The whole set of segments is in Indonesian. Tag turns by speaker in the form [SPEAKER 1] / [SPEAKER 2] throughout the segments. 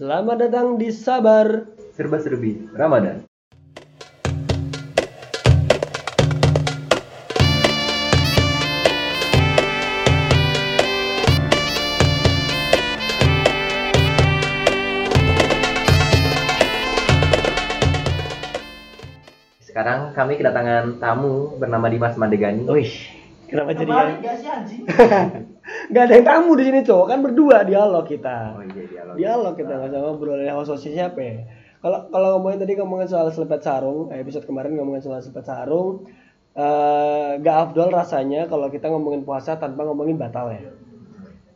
[SPEAKER 1] Selamat datang di Sabar.
[SPEAKER 2] Serba-serbi Ramadan. Sekarang kami kedatangan tamu bernama Dimas Madegani.
[SPEAKER 1] Wih, kenapa jadi
[SPEAKER 2] kan-
[SPEAKER 3] Kebalik gak sih anjing?
[SPEAKER 1] Gak ada yang tamu di sini cowok kan berdua dialog kita.
[SPEAKER 2] Oh iya dialog.
[SPEAKER 1] Dialog kita nggak sama ngobrol yang host hostnya siapa ya? Kalau kalau ngomongin tadi ngomongin soal selepet sarung, eh, episode kemarin ngomongin soal selepet sarung, eh gak afdol rasanya kalau kita ngomongin puasa tanpa ngomongin batal ya.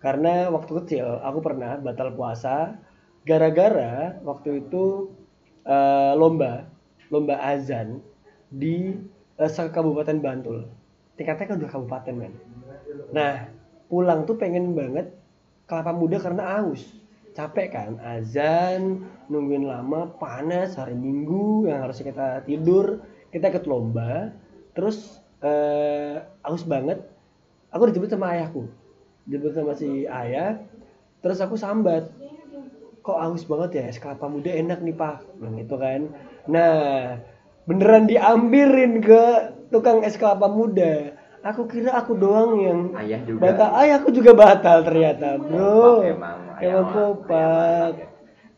[SPEAKER 1] Karena waktu kecil aku pernah batal puasa gara-gara waktu itu eh, lomba lomba azan di eh, kabupaten Bantul. Tingkatnya kan udah kabupaten men. Nah pulang tuh pengen banget kelapa muda karena aus. Capek kan azan nungguin lama panas hari minggu yang harusnya kita tidur kita ikut lomba terus eh, aus banget aku dijemput sama ayahku dijemput sama si ayah terus aku sambat kok aus banget ya es kelapa muda enak nih pak bilang gitu kan nah beneran diambilin ke tukang es kelapa muda aku kira aku doang yang
[SPEAKER 2] Ayah juga.
[SPEAKER 1] batal ayah aku juga batal ternyata bro
[SPEAKER 2] Kompak emang, ayah
[SPEAKER 1] emang
[SPEAKER 2] mah,
[SPEAKER 1] kompak
[SPEAKER 2] ayah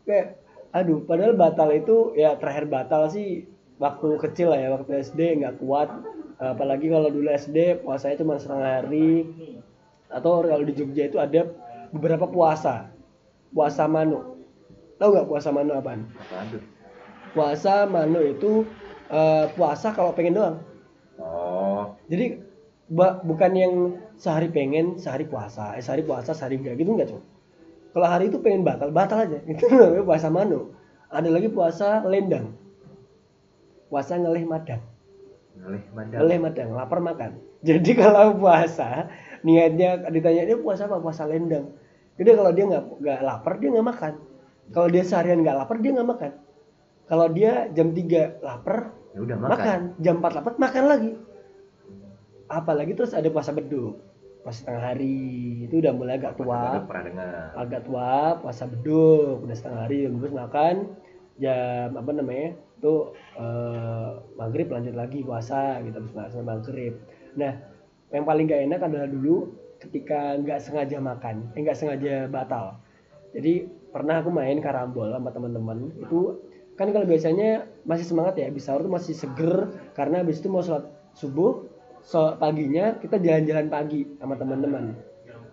[SPEAKER 1] kayak aduh padahal batal itu ya terakhir batal sih waktu kecil lah ya waktu SD nggak kuat apalagi kalau dulu SD puasanya cuma setengah hari atau kalau di Jogja itu ada beberapa puasa puasa manu tau nggak puasa manu apaan
[SPEAKER 2] Apaan tuh?
[SPEAKER 1] puasa manu itu eh, puasa kalau pengen doang
[SPEAKER 2] Oh,
[SPEAKER 1] jadi ba- bukan yang sehari pengen sehari puasa eh, sehari puasa sehari enggak gitu enggak cuy kalau hari itu pengen batal batal aja itu namanya puasa mano ada lagi puasa lendang puasa ngelih madang
[SPEAKER 2] ngelih madam.
[SPEAKER 1] ngelih madang lapar makan jadi kalau puasa niatnya ditanya dia puasa apa puasa lendang jadi kalau dia nggak nggak lapar dia nggak makan kalau dia seharian nggak lapar dia nggak makan kalau dia jam 3 lapar
[SPEAKER 2] Ya udah makan.
[SPEAKER 1] makan. Jam 4 lapar makan lagi. Apalagi terus ada puasa beduk. Puasa setengah hari itu udah mulai agak
[SPEAKER 2] Puasa baru
[SPEAKER 1] tua.
[SPEAKER 2] pernah dengar.
[SPEAKER 1] Agak tua puasa beduk udah setengah hari jam 12 makan. Jam apa namanya? Tuh eh, maghrib lanjut lagi puasa gitu habis puasa maghrib. Nah, yang paling gak enak adalah dulu ketika nggak sengaja makan, eh, nggak sengaja batal. Jadi pernah aku main karambol sama teman-teman itu kan kalau biasanya masih semangat ya habis sahur tuh masih seger karena habis itu mau sholat subuh so paginya kita jalan-jalan pagi sama teman-teman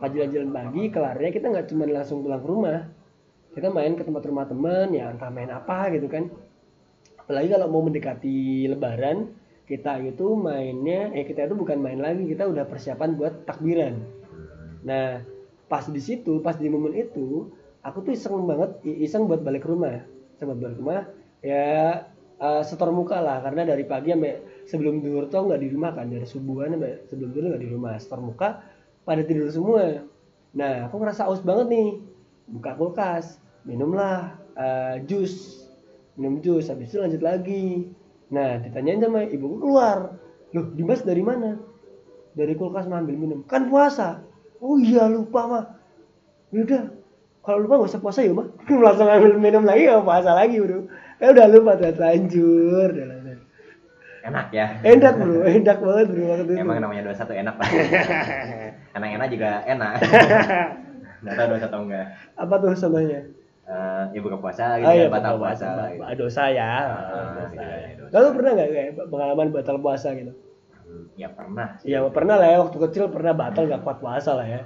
[SPEAKER 1] Pas jalan-jalan pagi kelarnya kita nggak cuma langsung pulang ke rumah kita main ke tempat rumah teman ya entah main apa gitu kan apalagi kalau mau mendekati lebaran kita itu mainnya eh kita itu bukan main lagi kita udah persiapan buat takbiran
[SPEAKER 2] Hmm.
[SPEAKER 1] Nah, pas di situ, pas di momen itu, aku tuh iseng banget, i- iseng buat balik ke rumah. Iseng buat balik ke rumah, ya eh, setor muka lah, karena dari pagi sampai sebelum duhur tuh nggak di rumah kan, dari subuhan sampai sebelum duhur nggak di rumah, setor muka, pada tidur semua. Nah, aku ngerasa aus banget nih, buka kulkas, minumlah eh, jus, minum jus, habis itu lanjut lagi. Nah, ditanyain sama ibuku keluar, loh Dimas dari mana? Dari kulkas mau ambil minum, kan puasa. Oh iya lupa mah. Yaudah, kalau lupa nggak usah puasa ya mah. Langsung ambil minum lagi nggak puasa lagi bro. Eh udah lupa udah lanjut. udah lanjut.
[SPEAKER 2] Enak ya.
[SPEAKER 1] Enak bro, enak banget bro waktu itu.
[SPEAKER 2] Emang namanya 21 enak lah. Anak enak juga enak. Enggak tahu dosa atau enggak.
[SPEAKER 1] Apa tuh contohnya?
[SPEAKER 2] Eh, ya buka puasa gitu
[SPEAKER 1] Ah, iya,
[SPEAKER 2] kan, batal puasa. gitu.
[SPEAKER 1] Ba- Dosa ya.
[SPEAKER 2] Ah,
[SPEAKER 1] Dosa.
[SPEAKER 2] iya, iya, dosa.
[SPEAKER 1] Lalu pernah nggak kayak pengalaman batal puasa gitu?
[SPEAKER 2] Hmm, Ya pernah.
[SPEAKER 1] Iya pernah lah ya waktu kecil pernah batal nggak kuat puasa lah ya.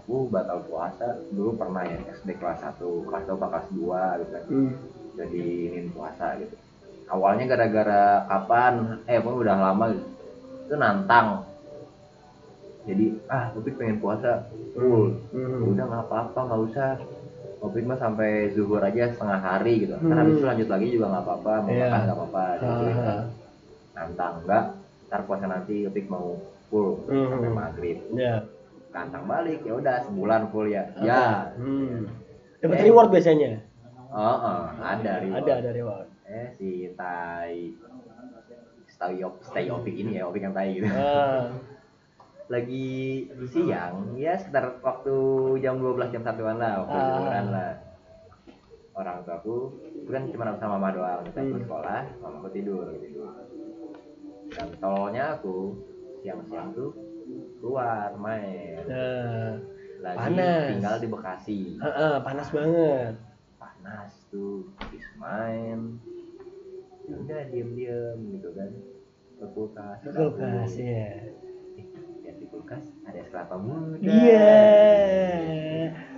[SPEAKER 2] Aku batal puasa dulu pernah ya SD kelas 1, kelas 2, apa kelas 2 gitu kan.
[SPEAKER 1] Hmm.
[SPEAKER 2] Jadi ingin puasa gitu. Awalnya gara-gara kapan? Eh, pokoknya udah lama gitu. Itu nantang. Jadi ah, tapi pengen puasa. Uh, udah nggak apa-apa nggak usah ngopi mah sampai zuhur aja setengah hari gitu kan
[SPEAKER 1] Hmm.
[SPEAKER 2] habis itu lanjut lagi juga nggak apa-apa mau
[SPEAKER 1] Iya.
[SPEAKER 2] makan nggak apa-apa digituin kan.
[SPEAKER 1] Ah,
[SPEAKER 2] nantang enggak ntar puasa nanti ngopi mau full
[SPEAKER 1] Hmm.
[SPEAKER 2] sampai maghrib
[SPEAKER 1] ya.
[SPEAKER 2] nantang balik ya udah sebulan full ya
[SPEAKER 1] Ah,
[SPEAKER 2] ya
[SPEAKER 1] Hmm. Dapat
[SPEAKER 2] Eh.
[SPEAKER 1] reward biasanya.
[SPEAKER 2] oh, oh, ada reward.
[SPEAKER 1] Ada ada reward.
[SPEAKER 2] eh si tai stay op stay opik ini ya opik yang tai gitu
[SPEAKER 1] Ah.
[SPEAKER 2] lagi siang ya sekitar waktu jam 12 jam satuan lah waktu
[SPEAKER 1] Ah.
[SPEAKER 2] zuhuran lah orang tuaku aku kan cuma sama mama doang kita aku
[SPEAKER 1] Hmm.
[SPEAKER 2] sekolah mama aku tidur tidur dan tolnya aku siang-siang tuh keluar main
[SPEAKER 1] Nah,
[SPEAKER 2] lagi
[SPEAKER 1] Panas.
[SPEAKER 2] tinggal di Bekasi
[SPEAKER 1] eh, eh, panas banget.
[SPEAKER 2] panas tuh habis main Ya udah diem-diem gitu kan ke kulkas
[SPEAKER 1] Ke Kulkas
[SPEAKER 2] Eh,
[SPEAKER 1] ya.
[SPEAKER 2] lihat di kulkas ada es kelapa muda
[SPEAKER 1] Iya.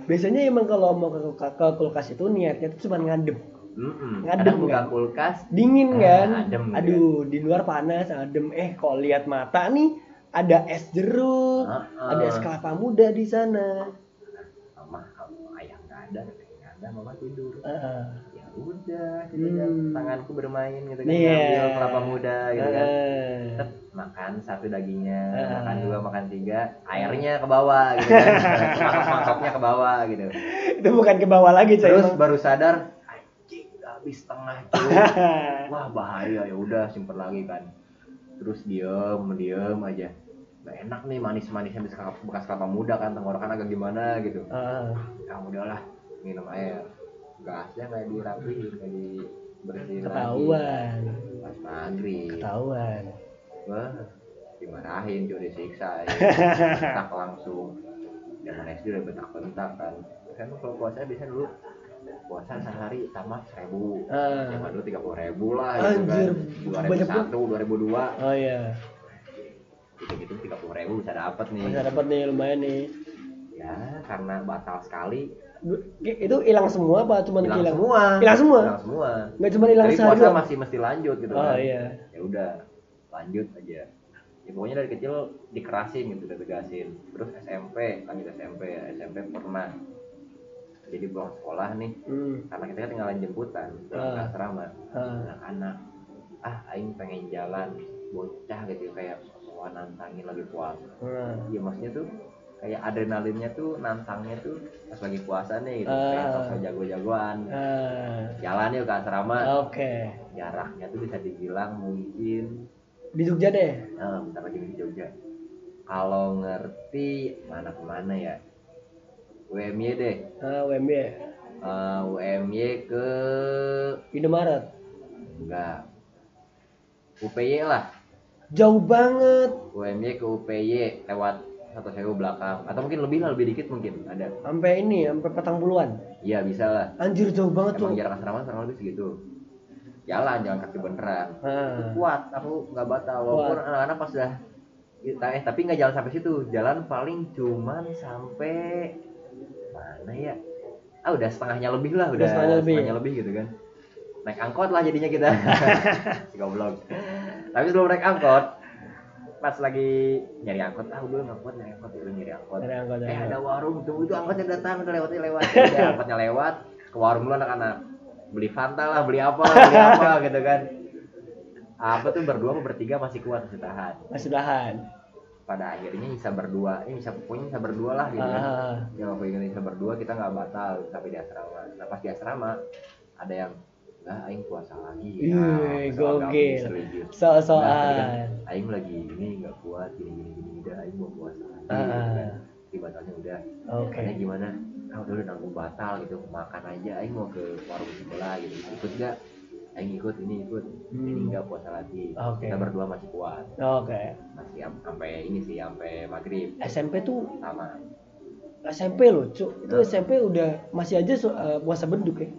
[SPEAKER 1] Biasanya emang kalau mau ke, kulka- ke kulkas itu niatnya tuh cuma ngadem.
[SPEAKER 2] Mm-mm.
[SPEAKER 1] Ngadem
[SPEAKER 2] kadang buka
[SPEAKER 1] nggak?
[SPEAKER 2] kulkas
[SPEAKER 1] Dingin
[SPEAKER 2] Ah,
[SPEAKER 1] kan?
[SPEAKER 2] adem,
[SPEAKER 1] Aduh, di luar panas, adem. Eh, kok lihat mata nih ada es jeruk,
[SPEAKER 2] Heeh.
[SPEAKER 1] ada es kelapa muda di sana.
[SPEAKER 2] mama kamu ayah nggak ada nenek nggak ada mama tidur
[SPEAKER 1] Heeh.
[SPEAKER 2] ya udah gitu kan
[SPEAKER 1] Hmm.
[SPEAKER 2] tanganku bermain gitu kan
[SPEAKER 1] Iya. Eh.
[SPEAKER 2] ambil kelapa muda gitu kan
[SPEAKER 1] Heeh.
[SPEAKER 2] Tet, makan satu dagingnya
[SPEAKER 1] Ah.
[SPEAKER 2] makan dua makan tiga airnya ke bawah gitu kan mangkok mangkoknya ke bawah gitu
[SPEAKER 1] itu bukan ke bawah lagi, coy.
[SPEAKER 2] terus
[SPEAKER 1] Emang-
[SPEAKER 2] baru sadar anjing udah habis setengah cuy wah bahaya ya udah simpen lagi kan terus diem diem aja nggak enak nih manis manisnya bekas kelapa muda kan tenggorokan agak gimana gitu
[SPEAKER 1] Heeh.
[SPEAKER 2] ya udahlah minum air gasnya nggak dirapiin nggak dibersihin lagi
[SPEAKER 1] ketahuan,
[SPEAKER 2] pas maghrib
[SPEAKER 1] ketahuan.
[SPEAKER 2] wah dimarahin cuy disiksa ya. tak langsung zaman SD udah bentak-bentak kan kan kalau puasa biasa dulu puasa sehari sama seribu
[SPEAKER 1] Ah.
[SPEAKER 2] yang dulu tiga puluh ribu lah gitu
[SPEAKER 1] Anjir,
[SPEAKER 2] kan dua ribu
[SPEAKER 1] banyak banget.
[SPEAKER 2] satu dua ribu dua
[SPEAKER 1] Oh iya,
[SPEAKER 2] gitu gitu tiga puluh ribu bisa dapat nih
[SPEAKER 1] bisa dapat nih lumayan nih.
[SPEAKER 2] ya karena batal sekali
[SPEAKER 1] Du- Itu hilang semua apa cuman
[SPEAKER 2] hilang
[SPEAKER 1] hilang?
[SPEAKER 2] semua
[SPEAKER 1] Hilang semua?
[SPEAKER 2] hilang semua
[SPEAKER 1] Nggak cuma hilang
[SPEAKER 2] tapi
[SPEAKER 1] sehari
[SPEAKER 2] puasa
[SPEAKER 1] doang?
[SPEAKER 2] masih mesti lanjut gitu
[SPEAKER 1] Oh
[SPEAKER 2] kan
[SPEAKER 1] iya.
[SPEAKER 2] ya udah lanjut aja ya pokoknya dari kecil dikerasin gitu ditegasin terus SMP lanjut SMP ya SMP pernah jadi pulang sekolah nih
[SPEAKER 1] Hmm.
[SPEAKER 2] karena kita kan tinggalan jemputan pulang ke
[SPEAKER 1] Ah.
[SPEAKER 2] asrama
[SPEAKER 1] Ah.
[SPEAKER 2] anak-anak ah aing pengen jalan bocah gitu kayak soal nantangin lagi puasa
[SPEAKER 1] Ah.
[SPEAKER 2] iya maksudnya tuh kayak adrenalinnya tuh nantangnya tuh pas lagi puasa nih gitu
[SPEAKER 1] Ah.
[SPEAKER 2] kayak sosok jago-jagoan
[SPEAKER 1] Ah.
[SPEAKER 2] jalan yuk ke asrama
[SPEAKER 1] Oke.
[SPEAKER 2] jaraknya tuh bisa dibilang mungkin
[SPEAKER 1] Di Jogja deh.
[SPEAKER 2] Nah, bentar lagi di Jogja. Kalau ngerti mana kemana ya? UMY deh.
[SPEAKER 1] Ah, WMB.
[SPEAKER 2] Eh, UMY ke
[SPEAKER 1] Indomaret.
[SPEAKER 2] enggak. UPY lah.
[SPEAKER 1] Jauh banget.
[SPEAKER 2] UMY ke UPY lewat satu sewa belakang atau mungkin lebih lah lebih dikit mungkin ada
[SPEAKER 1] Sampai ini, sampai petang puluhan.
[SPEAKER 2] iya bisa lah
[SPEAKER 1] Anjir jauh banget tuh.
[SPEAKER 2] emang jarak asrama kurang lebih segitu jalan jalan kaki beneran
[SPEAKER 1] Ah.
[SPEAKER 2] kuat aku nggak batal walaupun
[SPEAKER 1] Kuat.
[SPEAKER 2] anak-anak pas dah eh tapi nggak jalan sampai situ jalan paling cuman sampai mana ya ah udah setengahnya lebih lah udah,
[SPEAKER 1] setengahnya
[SPEAKER 2] setengahnya
[SPEAKER 1] lebih.
[SPEAKER 2] lebih. gitu kan naik angkot lah jadinya kita si goblok tapi sebelum naik angkot pas lagi nyari angkot ah gue nggak kuat nyari angkot udah nyari angkot
[SPEAKER 1] Ada angkot, ada
[SPEAKER 2] eh ada
[SPEAKER 1] angkot.
[SPEAKER 2] warung tuh itu angkotnya datang udah lewatnya lewat udah angkotnya lewat ke warung dulu anak-anak beli fanta lah beli apa beli apa gitu kan apa tuh berdua apa bertiga masih kuat masih tahan
[SPEAKER 1] Masih tahan.
[SPEAKER 2] pada akhirnya bisa berdua ini bisa pokoknya bisa berdua lah gitu kan
[SPEAKER 1] Ah.
[SPEAKER 2] ya waktu Indonesia berdua kita nggak batal sampai di asrama nah pas di asrama ada yang lah aing puasa lagi Nah,
[SPEAKER 1] Ih,
[SPEAKER 2] masalah
[SPEAKER 1] gogel.
[SPEAKER 2] gamis, religius." Nah, tadi kan,
[SPEAKER 1] Soal-soal.
[SPEAKER 2] aing lagi ini nggak kuat gini gini gini udah aing mau puasa lagi
[SPEAKER 1] Ah.
[SPEAKER 2] gitu kan Tapi batalnya udah
[SPEAKER 1] Oke.
[SPEAKER 2] Akhirnya gimana ah udah udah nanggung batal gitu makan aja aing mau ke warung sebelah gitu ikut nggak aing ikut ini ikut ini
[SPEAKER 1] Hmm.
[SPEAKER 2] nggak puasa lagi
[SPEAKER 1] Oke.
[SPEAKER 2] kita berdua masih kuat
[SPEAKER 1] Oke.
[SPEAKER 2] masih am- sampai ini sih sampai maghrib
[SPEAKER 1] SMP tuh
[SPEAKER 2] sama
[SPEAKER 1] SMP loh, cuk. Itu
[SPEAKER 2] Nah.
[SPEAKER 1] SMP udah masih aja so- eh, puasa benduk ya.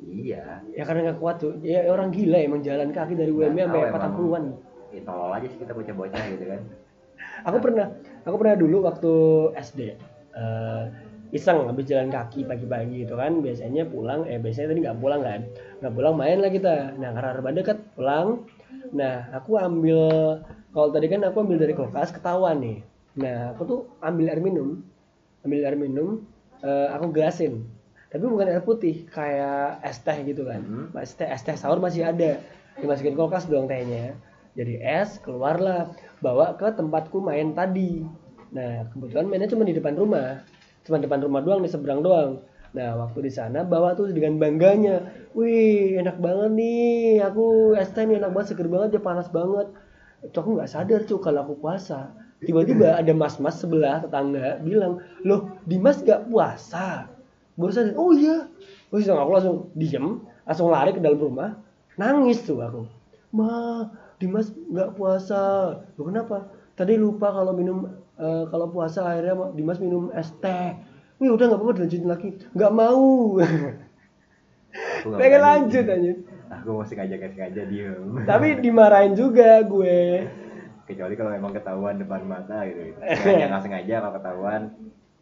[SPEAKER 2] iya
[SPEAKER 1] Ya karena nggak kuat tuh. Ya orang gila emang jalan kaki dari
[SPEAKER 2] Nggak
[SPEAKER 1] UMB sampai
[SPEAKER 2] Nah, tahu
[SPEAKER 1] patang
[SPEAKER 2] emang.
[SPEAKER 1] puluhan.
[SPEAKER 2] ya tolol aja sih kita bocah-bocah gitu kan
[SPEAKER 1] Aku pernah, aku pernah dulu waktu SD eh, iseng habis jalan kaki pagi-pagi gitu kan. Biasanya pulang, eh biasanya tadi nggak pulang kan. Nggak pulang main lah kita. Nah karena rumah dekat pulang. Nah aku ambil kalau tadi kan aku ambil dari kulkas ketahuan nih. Nah aku tuh ambil air minum, ambil air minum, eh, aku gelasin. Tapi bukan air putih, kayak es teh gitu kan.
[SPEAKER 2] Mhm.
[SPEAKER 1] Mas teh es teh sahur masih ada. Dimasukin kulkas dong tehnya. Jadi es keluarlah bawa ke tempatku main tadi. Nah, kebetulan mainnya cuma di depan rumah. Cuma depan rumah doang di seberang doang. Nah, waktu di sana bawa tuh dengan bangganya. Wih, enak banget nih. Aku es teh nih enak banget, seger banget, dia panas banget. Itu aku nggak sadar cuy kalau aku puasa. Tiba-tiba ada mas-mas sebelah tetangga bilang, "Loh, Dimas gak puasa?" Baru sadar, "Oh iya, terus dong aku langsung diem langsung lari ke dalam rumah nangis tuh aku ma Dimas nggak puasa Loh, kenapa tadi lupa kalau minum eh, kalau puasa akhirnya Ma- Dimas minum es teh Wih udah nggak apa-apa dilanjutin lagi nggak mau
[SPEAKER 2] Aku nggak
[SPEAKER 1] pengen
[SPEAKER 2] berani.
[SPEAKER 1] lanjut anjir
[SPEAKER 2] Aku masih ngajak sengaja diem.
[SPEAKER 1] tapi dimarahin juga gue
[SPEAKER 2] Kecuali kalau emang ketahuan depan mata gitu. Sengaja nggak sengaja kalau ketahuan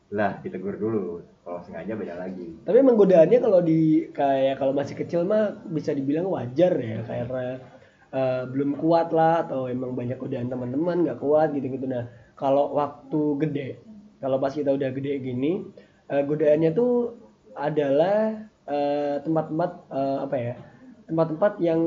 [SPEAKER 2] lah ditegur dulu. Kalau sengaja beda lagi.
[SPEAKER 1] tapi emang godaannya kalau di kayak kalau masih kecil mah bisa dibilang wajar ya karena eh, belum kuat lah atau emang banyak godaan teman-teman nggak kuat gitu-gitu nah kalau waktu gede kalau pas kita udah gede gini eh, godaannya tuh adalah eh, tempat-tempat eh, apa ya tempat-tempat yang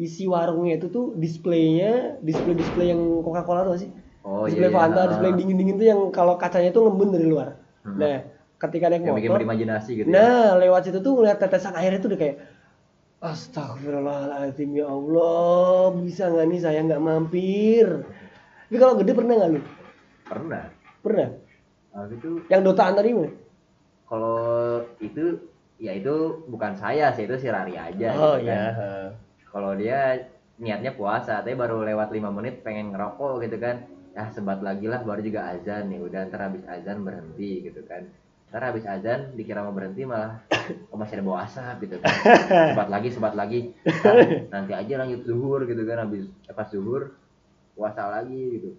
[SPEAKER 1] isi warungnya itu tuh displaynya display display yang Coca-Cola tuh nggak sih
[SPEAKER 2] Oh
[SPEAKER 1] display
[SPEAKER 2] iya. iya.
[SPEAKER 1] Fanta
[SPEAKER 2] Ah,
[SPEAKER 1] display dingin dingin tuh yang kalau kacanya tuh ngembun dari luar
[SPEAKER 2] Hmm.
[SPEAKER 1] nah ketika naik
[SPEAKER 2] Yang bikin
[SPEAKER 1] motor
[SPEAKER 2] berimajinasi gitu. ya.
[SPEAKER 1] Nah, lewat situ tuh ngeliat tetesan airnya tuh udah kayak Astagfirullahaladzim ya Allah Bisa nggak nih saya nggak mampir Tapi kalau gede pernah nggak lu?
[SPEAKER 2] Pernah.
[SPEAKER 1] Pernah?
[SPEAKER 2] Aku tuh
[SPEAKER 1] Yang dotaan tadi mah?
[SPEAKER 2] kalau itu ya itu bukan saya sih itu si Rari aja
[SPEAKER 1] oh
[SPEAKER 2] gitu
[SPEAKER 1] iya
[SPEAKER 2] kan. kalau dia niatnya puasa tapi baru lewat lima menit pengen ngerokok gitu kan ah sebat lagi lah baru juga azan nih udah ntar habis azan berhenti gitu kan ntar habis azan dikira mau berhenti malah oh masih ada bau asap gitu kan sebat lagi sebat lagi Nah, nanti aja lanjut zuhur gitu kan habis eh, pas zuhur puasa lagi gitu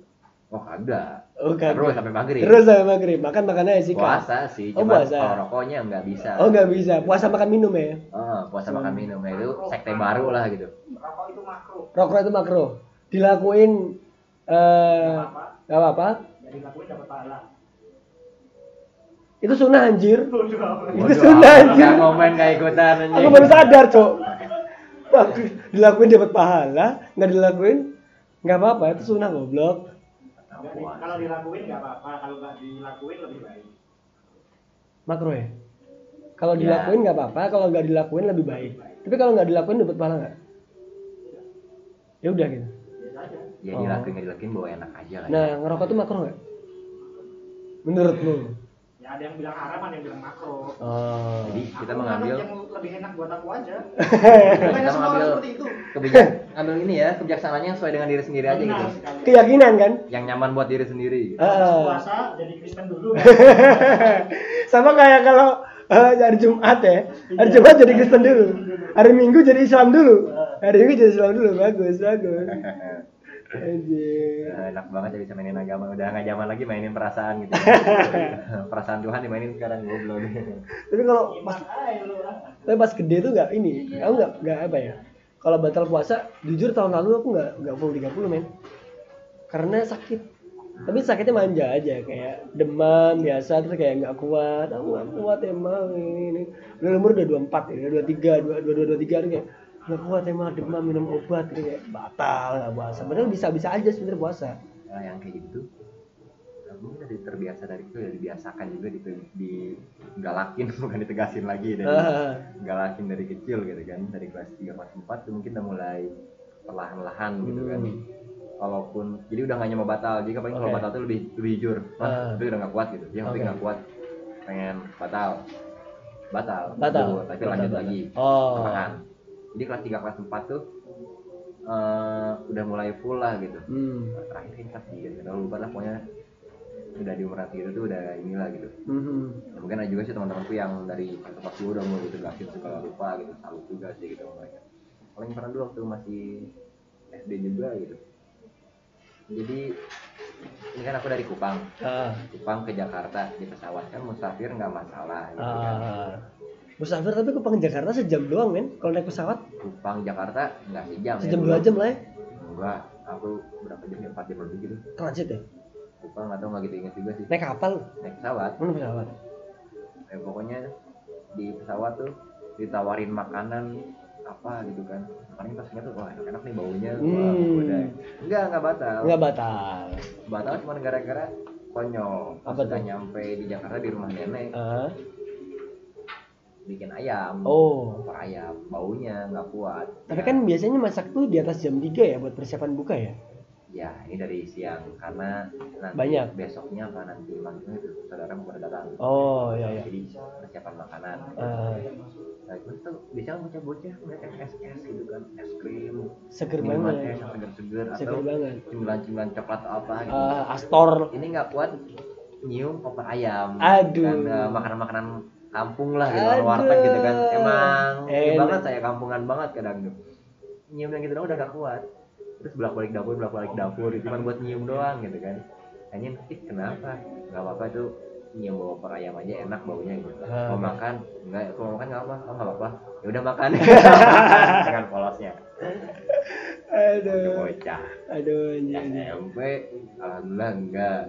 [SPEAKER 2] oh kagak
[SPEAKER 1] Oh, kagak.
[SPEAKER 2] terus sampai maghrib
[SPEAKER 1] Terus sampai maghrib, makan makannya sih
[SPEAKER 2] puasa sih
[SPEAKER 1] Oh,
[SPEAKER 2] cuma
[SPEAKER 1] puasa.
[SPEAKER 2] kalau rokoknya nggak bisa
[SPEAKER 1] Oh nggak bisa, puasa makan minum ya?
[SPEAKER 2] Ah, puasa makan minum ya, itu sekte baru lah gitu.
[SPEAKER 1] Rokro itu makro Dilakuin eh nggak apa-apa Itu sunnah anjir Itu sunnah anjir
[SPEAKER 2] Gak komen gak ikutan anjing.
[SPEAKER 1] Aku baru sadar, Cok. Wah, dilakuin dapat pahala, nggak dilakuin nggak apa-apa, itu sunnah goblok.
[SPEAKER 3] Kalau dilakuin nggak apa-apa, kalau nggak dilakuin lebih baik.
[SPEAKER 1] Makro ya. Kalau
[SPEAKER 2] Ya.
[SPEAKER 1] dilakuin nggak apa-apa, kalau nggak dilakuin lebih baik. Tapi kalau nggak dilakuin dapat pahala nggak? Ya udah gitu.
[SPEAKER 2] Ya dilakuin gak dilakuin bawa enak aja lah. ya.
[SPEAKER 1] Nah, ngerokok tuh makro nggak? Menurut lu?
[SPEAKER 3] Ya ada yang bilang haram, ada yang bilang makro.
[SPEAKER 1] Oh.
[SPEAKER 2] Jadi kita
[SPEAKER 3] Aku
[SPEAKER 2] mengambil
[SPEAKER 3] nganut yang lebih enak buat aku aja.
[SPEAKER 2] Kita
[SPEAKER 3] Kayaknya semua orang
[SPEAKER 2] mengambil-
[SPEAKER 3] seperti itu.
[SPEAKER 2] kebijakan ambil ini ya, kebijaksanaannya yang sesuai dengan diri sendiri aja
[SPEAKER 3] Benar
[SPEAKER 2] gitu.
[SPEAKER 3] sekali.
[SPEAKER 1] Keyakinan kan?
[SPEAKER 2] Yang nyaman buat diri sendiri. Gitu.
[SPEAKER 3] Habis
[SPEAKER 1] Ah.
[SPEAKER 3] puasa jadi Kristen dulu. ya.
[SPEAKER 1] sama kayak kalau eh, hari Jumat ya hari Jumat jadi Kristen dulu hari Minggu jadi Islam dulu hari Minggu jadi Islam dulu bagus bagus Anjir.
[SPEAKER 2] Eh, enak banget ya bisa mainin agama udah nggak zaman lagi mainin perasaan gitu perasaan Tuhan dimainin sekarang goblok
[SPEAKER 1] tapi kalau pas
[SPEAKER 3] Iman aja lu ah.
[SPEAKER 1] tapi pas gede tuh nggak ini aku nggak nggak apa ya kalau batal puasa jujur tahun lalu aku nggak nggak full 30 men karena sakit tapi sakitnya manja aja kayak demam biasa terus kayak nggak kuat aku nggak kuat emang ini ini udah umur udah 24 ya udah 23 dua dua dua dua tiga kayak nggak kuat emang demam minum obat gitu kayak batal nggak puasa padahal bisa bisa aja sebenarnya puasa
[SPEAKER 2] Nah, yang kayak gitu Eh, mungkin dari terbiasa dari itu ya dibiasakan juga di, di galakin bukan ditegasin lagi dari
[SPEAKER 1] Ah.
[SPEAKER 2] galakin dari kecil gitu kan dari kelas 3 kelas 4 tuh mungkin udah mulai perlahan-lahan gitu kan
[SPEAKER 1] Hmm.
[SPEAKER 2] walaupun jadi udah gak nyoba batal jadi paling kalau
[SPEAKER 1] Oke.
[SPEAKER 2] batal tuh lebih lebih jujur
[SPEAKER 1] Ah.
[SPEAKER 2] mas tapi udah gak kuat gitu yang penting
[SPEAKER 1] Oke.
[SPEAKER 2] gak kuat pengen batal batal
[SPEAKER 1] batal
[SPEAKER 2] Tuh, tapi lanjut
[SPEAKER 1] Batal,
[SPEAKER 2] lagi
[SPEAKER 1] batal. oh
[SPEAKER 2] perlahan jadi kelas 3 kelas 4 tuh eh, udah mulai full lah gitu
[SPEAKER 1] hmm.
[SPEAKER 2] terakhir kan kelas 3 gitu lupa lah pokoknya udah di umuran segitu tuh udah inilah gitu
[SPEAKER 1] Mhm.
[SPEAKER 2] Ya, mungkin ada juga sih teman-temanku yang dari tempat gue udah gitu mulai ditegasin suka lupa gitu salut juga sih gitu sama mereka paling pernah dulu waktu masih SD juga gitu jadi ini kan aku dari Kupang
[SPEAKER 1] Ah.
[SPEAKER 2] Kupang ke Jakarta di pesawat kan musafir nggak masalah gitu kan
[SPEAKER 1] Ah. Musafir tapi ke Jakarta sejam doang men kalau naik pesawat
[SPEAKER 2] Kupang Jakarta nggak sejam ya,
[SPEAKER 1] sejam
[SPEAKER 2] dulu.
[SPEAKER 1] dua jam lah ya
[SPEAKER 2] enggak aku berapa jam ya empat jam lebih gitu
[SPEAKER 1] transit ya
[SPEAKER 2] Kupang atau nggak gitu inget juga sih
[SPEAKER 1] naik kapal
[SPEAKER 2] naik pesawat
[SPEAKER 1] mana pesawat
[SPEAKER 2] eh, pokoknya di pesawat tuh ditawarin makanan apa gitu kan paling pas ingat tuh wah enak, enak nih baunya wah
[SPEAKER 1] Hmm.
[SPEAKER 2] goda enggak enggak batal
[SPEAKER 1] nggak batal
[SPEAKER 2] batal cuma gara-gara konyol pas
[SPEAKER 1] Apa
[SPEAKER 2] udah
[SPEAKER 1] tuh?
[SPEAKER 2] nyampe di Jakarta di rumah nenek
[SPEAKER 1] Ah.
[SPEAKER 2] bikin ayam
[SPEAKER 1] oh
[SPEAKER 2] Opor ayam baunya nggak kuat
[SPEAKER 1] tapi
[SPEAKER 2] Ya,
[SPEAKER 1] kan biasanya masak tuh di atas jam 3 ya buat persiapan buka ya
[SPEAKER 2] ya ini dari siang karena nanti
[SPEAKER 1] Banyak.
[SPEAKER 2] besoknya apa nanti maksudnya itu saudara mau pada datang
[SPEAKER 1] Oh iya iya.
[SPEAKER 2] jadi persiapan makanan
[SPEAKER 1] Ah,
[SPEAKER 2] nah itu tuh biasanya bocah-bocah ngeliat yang es es gitu kan es krim
[SPEAKER 1] seger
[SPEAKER 2] minuman
[SPEAKER 1] banget.
[SPEAKER 2] es yang seger-seger atau
[SPEAKER 1] Seger banget.
[SPEAKER 2] cemilan-cemilan coklat atau apa gitu
[SPEAKER 1] Ah, Astor.
[SPEAKER 2] ini nggak kuat nyium opor ayam
[SPEAKER 1] Aduh.
[SPEAKER 2] dan eh, makanan-makanan kampung lah gitu
[SPEAKER 1] Aduh.
[SPEAKER 2] warteg gitu kan emang
[SPEAKER 1] Enak.
[SPEAKER 2] ini banget saya kampungan banget kadang tuh nyium yang gitu doang udah gak kuat terus bolak balik dapur bolak balik dapur cuma buat nyium doang gitu kan hanya ih kenapa nggak apa apa tuh nyium bawa opor ayam aja enak baunya gitu
[SPEAKER 1] Ah.
[SPEAKER 2] mau makan nggak kalau makan nggak apa oh, nggak apa apa ya udah makan dengan polosnya
[SPEAKER 1] Aduh.
[SPEAKER 2] bocah
[SPEAKER 1] Aduh. anjing, anjing.
[SPEAKER 2] SMP alhamdulillah enggak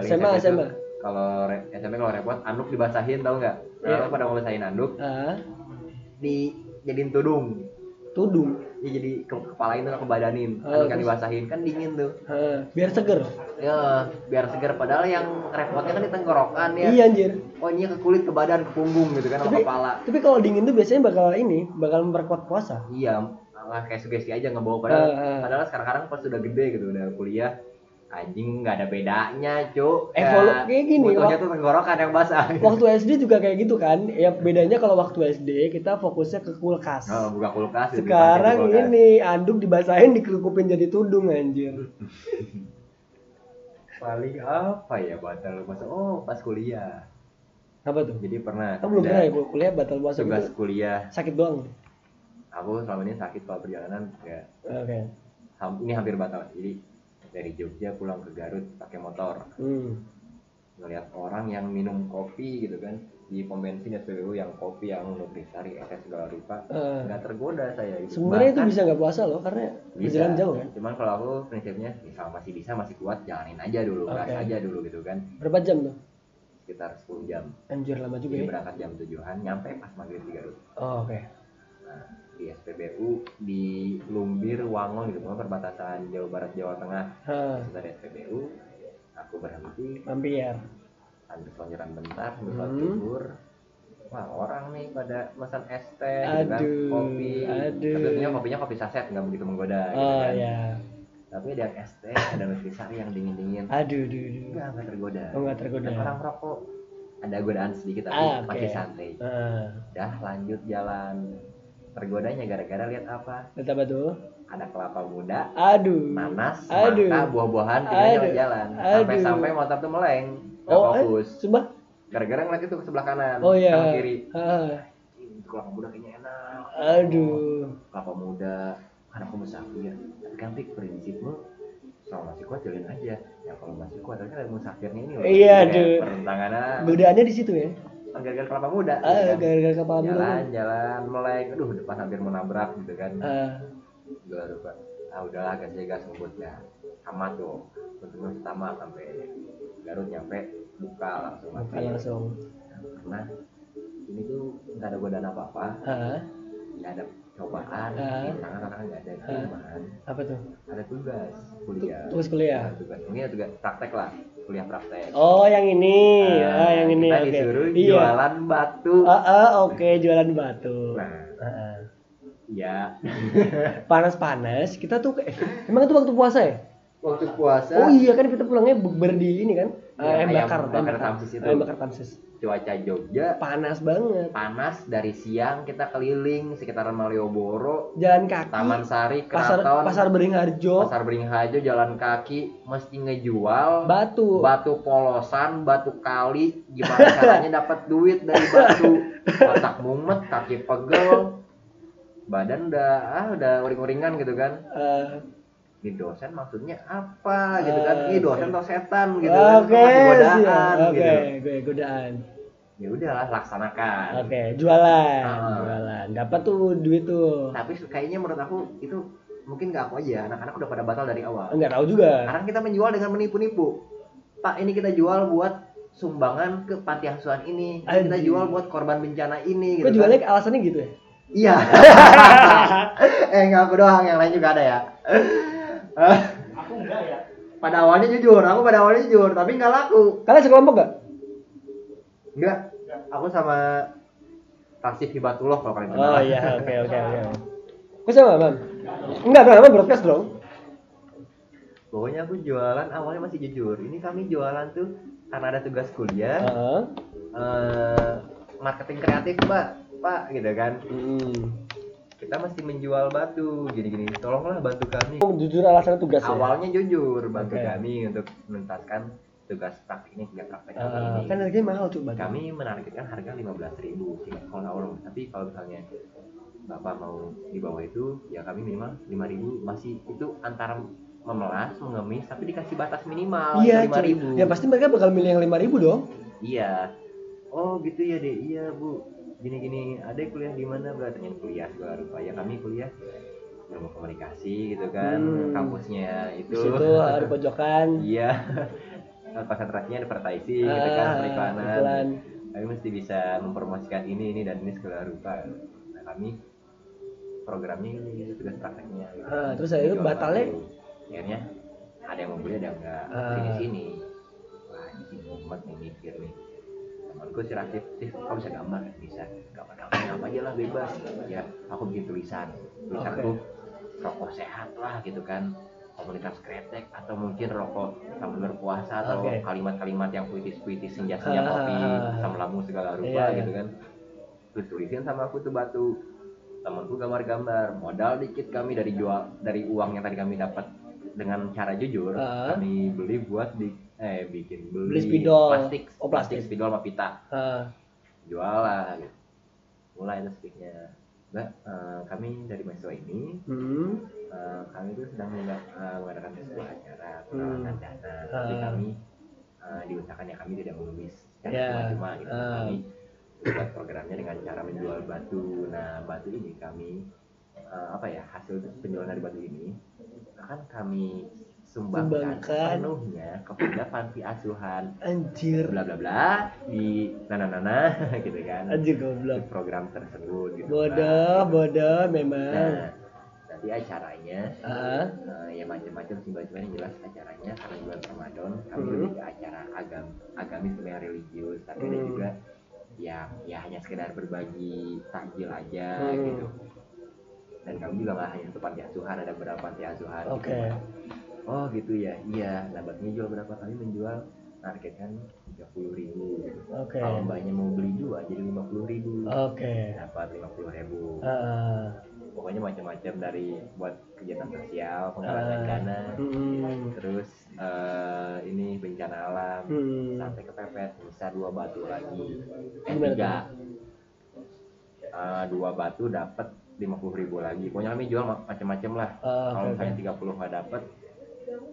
[SPEAKER 1] SMA,
[SPEAKER 2] SMP tuh
[SPEAKER 1] SMA.
[SPEAKER 2] kalau re- SMP kalau repot anduk dibasahin tau nggak
[SPEAKER 1] Iya.
[SPEAKER 2] orang pada mau basahin anduk
[SPEAKER 1] Ah,
[SPEAKER 2] di jadiin tudung
[SPEAKER 1] tudung.
[SPEAKER 2] ya jadi ke kepalain tuh kebadanin
[SPEAKER 1] Oh,
[SPEAKER 2] anduk yang
[SPEAKER 1] terus?
[SPEAKER 2] dibasahin kan dingin tuh
[SPEAKER 1] Ah, biar seger.
[SPEAKER 2] ya biar segar padahal yang repotnya kan di tenggorokan ya
[SPEAKER 1] Iya anjir.
[SPEAKER 2] oh ini ke kulit ke badan ke punggung gitu kan sama
[SPEAKER 1] Tapi-
[SPEAKER 2] kepala
[SPEAKER 1] Tapi kalau dingin tuh biasanya bakal ini, bakal memperkuat puasa.
[SPEAKER 2] iya malah kayak sugesti aja ngebawa padahal
[SPEAKER 1] Eh, eh.
[SPEAKER 2] padahal sekarang pas udah gede gitu udah kuliah anjing nggak ada bedanya cuk
[SPEAKER 1] Evolu-
[SPEAKER 2] Ya,
[SPEAKER 1] Eh, kayak gini,
[SPEAKER 2] butuhnya
[SPEAKER 1] wak-
[SPEAKER 2] tuh tenggorokan yang basah
[SPEAKER 1] Waktu SD juga kayak gitu kan. Ya bedanya kalau waktu SD kita fokusnya ke kulkas.
[SPEAKER 2] oh, buka kulkas gitu,
[SPEAKER 1] Sekarang
[SPEAKER 2] pakai kulkas.
[SPEAKER 1] ini anduk dibasahin dikelupin jadi tudung anjir.
[SPEAKER 2] paling apa ya batal puasa oh pas kuliah
[SPEAKER 1] Apa tuh?
[SPEAKER 2] jadi pernah
[SPEAKER 1] Kamu belum
[SPEAKER 2] ada
[SPEAKER 1] pernah ya Bu? kuliah batal puasa
[SPEAKER 2] tugas
[SPEAKER 1] gitu?
[SPEAKER 2] kuliah
[SPEAKER 1] Sakit doang.
[SPEAKER 2] aku selama ini sakit kalau perjalanan ya
[SPEAKER 1] Oke.
[SPEAKER 2] ham- ini hampir batal jadi dari Jogja pulang ke Garut pakai motor
[SPEAKER 1] Hmm.
[SPEAKER 2] ngelihat orang yang minum kopi gitu kan di pom bensin SPBU yang kopi yang nutrisari es segala rupa
[SPEAKER 1] Eh,
[SPEAKER 2] nggak tergoda saya gitu.
[SPEAKER 1] Sebenarnya itu
[SPEAKER 2] Bahkan
[SPEAKER 1] bisa nggak puasa loh karena
[SPEAKER 2] bisa.
[SPEAKER 1] berjalan jauh kan.
[SPEAKER 2] cuman kalau aku prinsipnya misal masih bisa masih kuat jalanin aja dulu
[SPEAKER 1] Oke.
[SPEAKER 2] gas aja dulu gitu kan
[SPEAKER 1] Berapa jam tuh?
[SPEAKER 2] sekitar 10 jam
[SPEAKER 1] Anjir lama juga ya.
[SPEAKER 2] jadi berangkat jam tujuan nyampe pas maghrib di Garut
[SPEAKER 1] Oh, Oke.
[SPEAKER 2] di SPBU di Lumbir Wangon gitu pokoknya perbatasan Jawa Barat Jawa Tengah
[SPEAKER 1] Hah,
[SPEAKER 2] dari SPBU aku berhenti
[SPEAKER 1] mampir.
[SPEAKER 2] ambil lonjaran bentar, ambil sholat
[SPEAKER 1] Hmm.
[SPEAKER 2] zuhur. Wah orang nih pada pesan es teh, gitu kan,
[SPEAKER 1] Aduh,
[SPEAKER 2] kopi.
[SPEAKER 1] aduh.
[SPEAKER 2] Tapi Tentunya kopinya kopi saset nggak begitu menggoda. gitu
[SPEAKER 1] Oh
[SPEAKER 2] kan.
[SPEAKER 1] ya.
[SPEAKER 2] Tapi ada yang es teh, ada nutrisari yang dingin dingin.
[SPEAKER 1] Aduh, aduh, aduh.
[SPEAKER 2] Enggak nggak tergoda.
[SPEAKER 1] Oh, nggak tergoda.
[SPEAKER 2] Dan orang rokok ada godaan sedikit tapi
[SPEAKER 1] Ah, oke.
[SPEAKER 2] masih santai.
[SPEAKER 1] Ah,
[SPEAKER 2] Dah lanjut jalan. Tergodanya gara-gara lihat apa?
[SPEAKER 1] lihat apa tuh?
[SPEAKER 2] Ada kelapa muda,
[SPEAKER 1] Aduh.
[SPEAKER 2] nanas,
[SPEAKER 1] Aduh.
[SPEAKER 2] mangga, buah-buahan, tinggal
[SPEAKER 1] Aduh.
[SPEAKER 2] jalan-jalan.
[SPEAKER 1] Aduh.
[SPEAKER 2] Sampai-sampai motor tuh meleng, nggak
[SPEAKER 1] Oh, eh,
[SPEAKER 2] fokus.
[SPEAKER 1] sumpah?
[SPEAKER 2] Gara-gara ngeliat itu ke sebelah kanan,
[SPEAKER 1] Oh iya.
[SPEAKER 2] sama kiri.
[SPEAKER 1] Ah,
[SPEAKER 2] Ih, kelapa muda kayaknya enak
[SPEAKER 1] aduh.
[SPEAKER 2] kelapa muda anak musafir tapi kan Pik, prinsipmu kalau masih kuat jalin aja ya kalau masih kuat tapi kan ada musafirnya ini loh
[SPEAKER 1] Iya,
[SPEAKER 2] Kayak
[SPEAKER 1] aduh.
[SPEAKER 2] pertentangannya
[SPEAKER 1] Godaannya di situ ya.
[SPEAKER 2] gara-gara kelapa muda gitu
[SPEAKER 1] Ah,
[SPEAKER 2] kan.
[SPEAKER 1] gara-gara kepala dulu.
[SPEAKER 2] jalan jalan mulai aduh depan hampir mau nabrak gitu kan
[SPEAKER 1] Ah,
[SPEAKER 2] gak lupa ah udahlah gas aja gas ngebut ya sama tuh untungnya pertama sampai Garut nyampe buka langsung
[SPEAKER 1] buka
[SPEAKER 2] mampir.
[SPEAKER 1] langsung.
[SPEAKER 2] karena ini tuh nggak ada godaan apa apa
[SPEAKER 1] Ah,
[SPEAKER 2] nggak ada cobaan
[SPEAKER 1] Ah.
[SPEAKER 2] tantangan-tantangan nggak ada
[SPEAKER 1] Ah.
[SPEAKER 2] cuman
[SPEAKER 1] apa tuh?
[SPEAKER 2] ada tugas
[SPEAKER 1] Tu-
[SPEAKER 2] kuliah
[SPEAKER 1] Tugas kuliah.
[SPEAKER 2] Ada tugas ini ada tugas praktek lah kuliah praktek
[SPEAKER 1] Oh, yang ini.
[SPEAKER 2] Nah,
[SPEAKER 1] ah, yang ini
[SPEAKER 2] kita
[SPEAKER 1] oke.
[SPEAKER 2] disuruh
[SPEAKER 1] Iya.
[SPEAKER 2] jualan batu
[SPEAKER 1] Ah, ah, oke, jualan batu.
[SPEAKER 2] nah
[SPEAKER 1] Ah, ah.
[SPEAKER 2] ya
[SPEAKER 1] Panas-panas, kita tuh eh, emang itu waktu puasa ya?
[SPEAKER 2] waktu
[SPEAKER 1] Oh
[SPEAKER 2] puasa
[SPEAKER 1] iya kan kita pulangnya bukber di ini kan?
[SPEAKER 2] Iya,
[SPEAKER 1] Eh, ayam
[SPEAKER 2] ayam
[SPEAKER 1] bakar,
[SPEAKER 2] bakar Tamsis itu.
[SPEAKER 1] Ayam bakar Tamsis.
[SPEAKER 2] cuaca Jogja
[SPEAKER 1] Panas banget.
[SPEAKER 2] panas dari siang kita keliling sekitaran Malioboro
[SPEAKER 1] Jalan kaki.
[SPEAKER 2] Taman Sari
[SPEAKER 1] Hmm. pasar
[SPEAKER 2] Keraton
[SPEAKER 1] pasar Beringharjo.
[SPEAKER 2] Pasar Beringharjo jalan kaki mesti ngejual
[SPEAKER 1] Batu.
[SPEAKER 2] batu polosan, batu kali, gimana caranya dapat duit dari batu? Otak mumet, kaki pegel, badan udah ah udah uring-uringan gitu kan.
[SPEAKER 1] Eh,
[SPEAKER 2] Ini dosen maksudnya apa gitu kan?
[SPEAKER 1] Ah,
[SPEAKER 2] Ini
[SPEAKER 1] oke.
[SPEAKER 2] dosen atau setan gitu kan?
[SPEAKER 1] Oke,
[SPEAKER 2] Masih godaan
[SPEAKER 1] siap. Oke,
[SPEAKER 2] gitu.
[SPEAKER 1] gue godaan.
[SPEAKER 2] Ya udahlah laksanakan.
[SPEAKER 1] Oke, jualan,
[SPEAKER 2] Ah.
[SPEAKER 1] jualan. Dapat tuh duit tuh.
[SPEAKER 2] Tapi kayaknya menurut aku itu mungkin nggak aku aja, anak-anak udah pada batal dari awal.
[SPEAKER 1] Enggak tahu juga.
[SPEAKER 2] Sekarang kita menjual dengan menipu-nipu. Pak, ini kita jual buat sumbangan ke panti asuhan ini. Ini Kita
[SPEAKER 1] Anjir.
[SPEAKER 2] jual buat korban bencana ini.
[SPEAKER 1] Kok
[SPEAKER 2] kan.
[SPEAKER 1] jualnya alasannya gitu ya?
[SPEAKER 2] Iya. eh nggak aku doang, yang lain juga ada ya. Eh,
[SPEAKER 3] Aku enggak ya.
[SPEAKER 2] pada awalnya jujur, aku pada awalnya jujur, tapi nggak laku.
[SPEAKER 1] Kalian sekelompok gak?
[SPEAKER 2] Nggak, aku sama Taksi Hibatullah kalau kalian kenal.
[SPEAKER 1] Oh iya, oke oke oke. Kok sama, Bang? Enggak, Bang, Bang broadcast dong.
[SPEAKER 2] pokoknya aku jualan awalnya masih jujur ini kami jualan tuh karena ada tugas kuliah
[SPEAKER 1] Heeh.
[SPEAKER 2] eh, marketing kreatif mbak pak gitu kan
[SPEAKER 1] Mm.
[SPEAKER 2] kita masih menjual batu gini-gini tolonglah bantu kami
[SPEAKER 1] Jujur alasannya tugas ya.
[SPEAKER 2] awalnya jujur bantu
[SPEAKER 1] Oke.
[SPEAKER 2] kami untuk menuntaskan tugas praktik ini tiga praktek kali
[SPEAKER 1] Ah,
[SPEAKER 2] ini
[SPEAKER 1] kan harganya mahal tuh batu.
[SPEAKER 2] kami menargetkan harga 15.000 ribu kalau awal tapi kalau misalnya bapak mau di bawah itu ya kami minimal 5.000 masih itu antara memelas mengemis tapi dikasih batas minimal
[SPEAKER 1] Iya,
[SPEAKER 2] lima
[SPEAKER 1] cuy. Ya pasti mereka bakal milih yang 5000 dong.
[SPEAKER 2] iya oh gitu ya deh iya bu gini gini ada kuliah di mana bu tanya kuliah segala rupa ya kami kuliah ilmu komunikasi gitu kan
[SPEAKER 1] Hmm.
[SPEAKER 2] kampusnya itu
[SPEAKER 1] Di situ ada pojokan.
[SPEAKER 2] iya konsentrasinya advertising
[SPEAKER 1] Ah,
[SPEAKER 2] gitu kan periklanan
[SPEAKER 1] iklan.
[SPEAKER 2] kami mesti bisa mempromosikan ini ini dan ini segala rupa nah kami programnya ini tugas prakteknya gitu.
[SPEAKER 1] Ah, terus akhirnya
[SPEAKER 2] Jual
[SPEAKER 1] batalnya?
[SPEAKER 2] batu. akhirnya ada yang mau beli ada yang enggak
[SPEAKER 1] Ah.
[SPEAKER 2] sini sini wah ini sih mumet nih mikir nih temanku si Ratif sih kamu bisa gambar bisa gambar gambar apa aja lah bebas ya aku bikin tulisan tulisanku rokok sehat lah gitu kan komunitas kretek atau mungkin rokok sambil berpuasa atau
[SPEAKER 1] Oke.
[SPEAKER 2] kalimat-kalimat yang puitis-puitis
[SPEAKER 1] Ah.
[SPEAKER 2] senja-senja kopi sambelamu segala rupa
[SPEAKER 1] Iya, iya.
[SPEAKER 2] gitu kan terus tulisin sama aku tuh batu temanku gambar-gambar modal dikit kami dari jual dari uang yang tadi kami dapat dengan cara jujur
[SPEAKER 1] Ah.
[SPEAKER 2] kami beli buat di eh bikin
[SPEAKER 1] Beli
[SPEAKER 2] beli,
[SPEAKER 1] spidol.
[SPEAKER 2] plastik
[SPEAKER 1] Oh, plastik.
[SPEAKER 2] spidol sama pita
[SPEAKER 1] Ah,
[SPEAKER 2] jualan mulai terus speaknya mbak eh, kami dari mahasiswa ini
[SPEAKER 1] hmm.
[SPEAKER 2] eh, kami itu sedang mengga- eh, mengadakan sebuah acara pengawasan
[SPEAKER 1] Hmm.
[SPEAKER 2] dana tapi
[SPEAKER 1] Ah.
[SPEAKER 2] kami eh, diusahakan ya kami tidak mengemis secara
[SPEAKER 1] Ya,
[SPEAKER 2] cuma-cuma gitu
[SPEAKER 1] ah.
[SPEAKER 2] kami buat programnya dengan cara menjual batu nah batu ini kami eh, apa ya hasil penjualan dari batu ini akan kami sumbangkan,
[SPEAKER 1] Sumbangkan.
[SPEAKER 2] penuhnya kepada panti asuhan
[SPEAKER 1] Anjir.
[SPEAKER 2] bla bla bla di nana nana gitu kan
[SPEAKER 1] Anjir
[SPEAKER 2] di
[SPEAKER 1] goblok.
[SPEAKER 2] program tersebut gitu
[SPEAKER 1] Bodoh,
[SPEAKER 2] kan.
[SPEAKER 1] bodoh
[SPEAKER 2] nah
[SPEAKER 1] memang.
[SPEAKER 2] nanti acaranya
[SPEAKER 1] Ah,
[SPEAKER 2] eh, ya macam-macam sih Mbak. cuman yang jelas acaranya karena bulan Ramadan kami
[SPEAKER 1] Hmm.
[SPEAKER 2] lebih ke acara agam agamis sebenarnya religius tapi ada
[SPEAKER 1] Hmm.
[SPEAKER 2] juga yang ya hanya sekedar berbagi takjil aja
[SPEAKER 1] Hmm.
[SPEAKER 2] gitu dan kami juga nggak hanya satu panti asuhan ada beberapa panti asuhan gitu.
[SPEAKER 1] oke.
[SPEAKER 2] oh gitu ya iya nah Mbak, ini jual berapa kami menjual targetkan tiga puluh ribu
[SPEAKER 1] Oke. Oh.
[SPEAKER 2] kalau mbaknya mau beli dua jadi lima puluh ribu
[SPEAKER 1] Oke.
[SPEAKER 2] dapat lima puluh ribu
[SPEAKER 1] Ah,
[SPEAKER 2] pokoknya macam-macam dari buat kegiatan sosial penggalangan
[SPEAKER 1] Ah.
[SPEAKER 2] dana
[SPEAKER 1] hmm.
[SPEAKER 2] terus eh, ini bencana alam
[SPEAKER 1] Hmm.
[SPEAKER 2] sampai kepepet bisa dua batu lagi eh,
[SPEAKER 1] Gimana
[SPEAKER 2] tiga Eh, dua batu dapat lima puluh ribu lagi pokoknya kami jual ma- macam-macam lah
[SPEAKER 1] Ah,
[SPEAKER 2] kalau
[SPEAKER 1] oke,
[SPEAKER 2] misalnya tiga puluh nggak dapat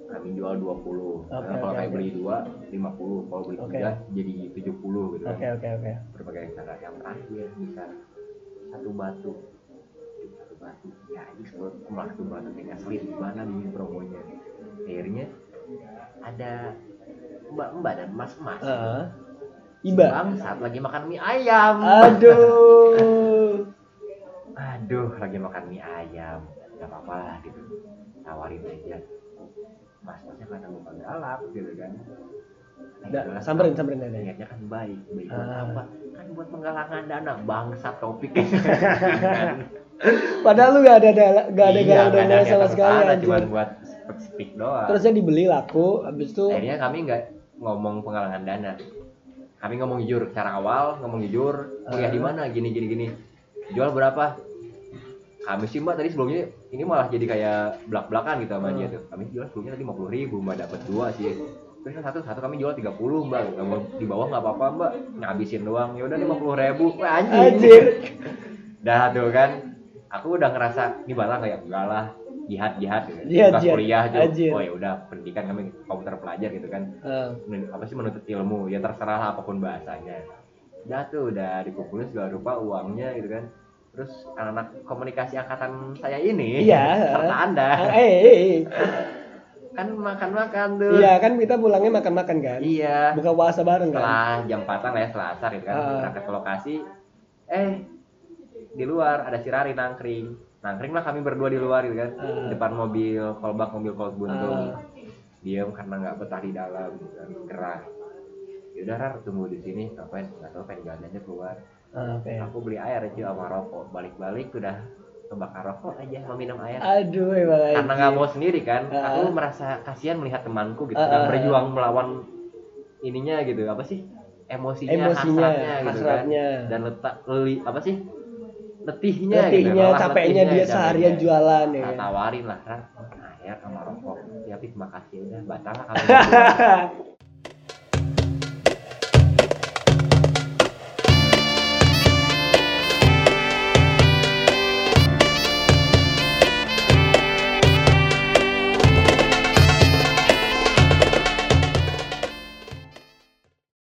[SPEAKER 2] kami jual dua puluh
[SPEAKER 1] Oke,
[SPEAKER 2] kalau
[SPEAKER 1] oke,
[SPEAKER 2] kayak
[SPEAKER 1] oke.
[SPEAKER 2] beli dua lima puluh kalau beli
[SPEAKER 1] Oke.
[SPEAKER 2] tiga jadi tujuh puluh gitu kan
[SPEAKER 1] Oke, oke, oke.
[SPEAKER 2] berbagai cara yang terakhir bisa satu batu satu batu ya ini buat kumlah satu batu kayak asli gimana bingung promonya akhirnya ada mbak mbak dan mas mas
[SPEAKER 1] Ah. Iba.
[SPEAKER 2] bang saat lagi makan mie ayam
[SPEAKER 1] Aduh.
[SPEAKER 2] aduh lagi makan mie ayam nggak apa-apa lah gitu tawarin aja mas masnya karena bukan galak gitu kan
[SPEAKER 1] Nah,
[SPEAKER 2] Akhirnya-
[SPEAKER 1] samperin, samperin aja.
[SPEAKER 2] niatnya kan baik baik buat
[SPEAKER 1] Ah.
[SPEAKER 2] apa kan buat penggalangan dana bangsa topik
[SPEAKER 1] Padahal lu gak ada gak ada
[SPEAKER 2] Iya,
[SPEAKER 1] galau dananya sama
[SPEAKER 2] ketertarikan,
[SPEAKER 1] sekali
[SPEAKER 2] cuman
[SPEAKER 1] anjir.
[SPEAKER 2] buat speak, speak doang
[SPEAKER 1] Terusnya dibeli laku, habis itu
[SPEAKER 2] akhirnya kami nggak ngomong penggalangan dana kami ngomong jujur cara awal ngomong jujur
[SPEAKER 1] Ah.
[SPEAKER 2] kuliah di mana gini gini gini jual berapa kami sih mbak tadi sebelumnya ini malah jadi kayak belak belakan gitu sama
[SPEAKER 1] Ah.
[SPEAKER 2] dia tuh kami jual sebelumnya tadi 50.000 ribu mbak dapat dua sih terus yang satu satu kami jual 30 mbak nggak mau di bawah nggak apa apa mbak ngabisin doang ya udah lima puluh ribu
[SPEAKER 1] Iya.
[SPEAKER 2] anjing
[SPEAKER 1] Anjir.
[SPEAKER 2] dah tuh kan aku udah ngerasa ini balang kayak enggak lah jihad jihad gitu.
[SPEAKER 1] Jihad,
[SPEAKER 2] Tugas
[SPEAKER 1] jihad.
[SPEAKER 2] kuliah tuh.
[SPEAKER 1] Anjir.
[SPEAKER 2] oh ya udah pendidikan kami komputer pelajar gitu kan
[SPEAKER 1] eh,
[SPEAKER 2] Men- apa sih menuntut ilmu ya terserah lah apapun bahasanya dah tuh udah dikumpulin segala rupa uangnya gitu kan terus anak-anak komunikasi angkatan saya ini
[SPEAKER 1] Iya.
[SPEAKER 2] serta anda
[SPEAKER 1] ah, eh, eh, eh.
[SPEAKER 2] kan makan-makan tuh
[SPEAKER 1] Iya kan kita pulangnya makan-makan kan?
[SPEAKER 2] iya
[SPEAKER 1] Buka puasa bareng kan?
[SPEAKER 2] setelah jam 4 lah ya setelah asar gitu kan
[SPEAKER 1] Ah.
[SPEAKER 2] berangkat ke lokasi eh di luar ada si Rari nangkring nangkring lah kami berdua di luar gitu kan
[SPEAKER 1] Ah.
[SPEAKER 2] depan mobil kolbak mobil kolbak
[SPEAKER 1] Ah.
[SPEAKER 2] buntung diam karena nggak betah di dalam gitu kan gerah yaudah Rar tunggu di sini ngapain nggak tahu pengen jalan aja keluar
[SPEAKER 1] Ah, Oke.
[SPEAKER 2] aku beli air aja sama rokok balik-balik udah kebakar rokok aja mau minum air
[SPEAKER 1] Aduh emang
[SPEAKER 2] karena
[SPEAKER 1] anjing.
[SPEAKER 2] nggak mau sendiri kan
[SPEAKER 1] Ah.
[SPEAKER 2] aku merasa kasihan melihat temanku gitu
[SPEAKER 1] Ah,
[SPEAKER 2] dan
[SPEAKER 1] ah,
[SPEAKER 2] berjuang melawan ininya gitu apa sih emosinya,
[SPEAKER 1] Emosinya,
[SPEAKER 2] hasratnya, gitu
[SPEAKER 1] hasratnya.
[SPEAKER 2] kan dan letak leli apa sih letihnya
[SPEAKER 1] Letihnya,
[SPEAKER 2] lelah
[SPEAKER 1] Iya, capeknya
[SPEAKER 2] letihnya,
[SPEAKER 1] dia
[SPEAKER 2] capeknya.
[SPEAKER 1] seharian jualan ya.
[SPEAKER 2] Nah, tawarin lah kan air sama rokok ya Pip, makasih udah batal lah kalau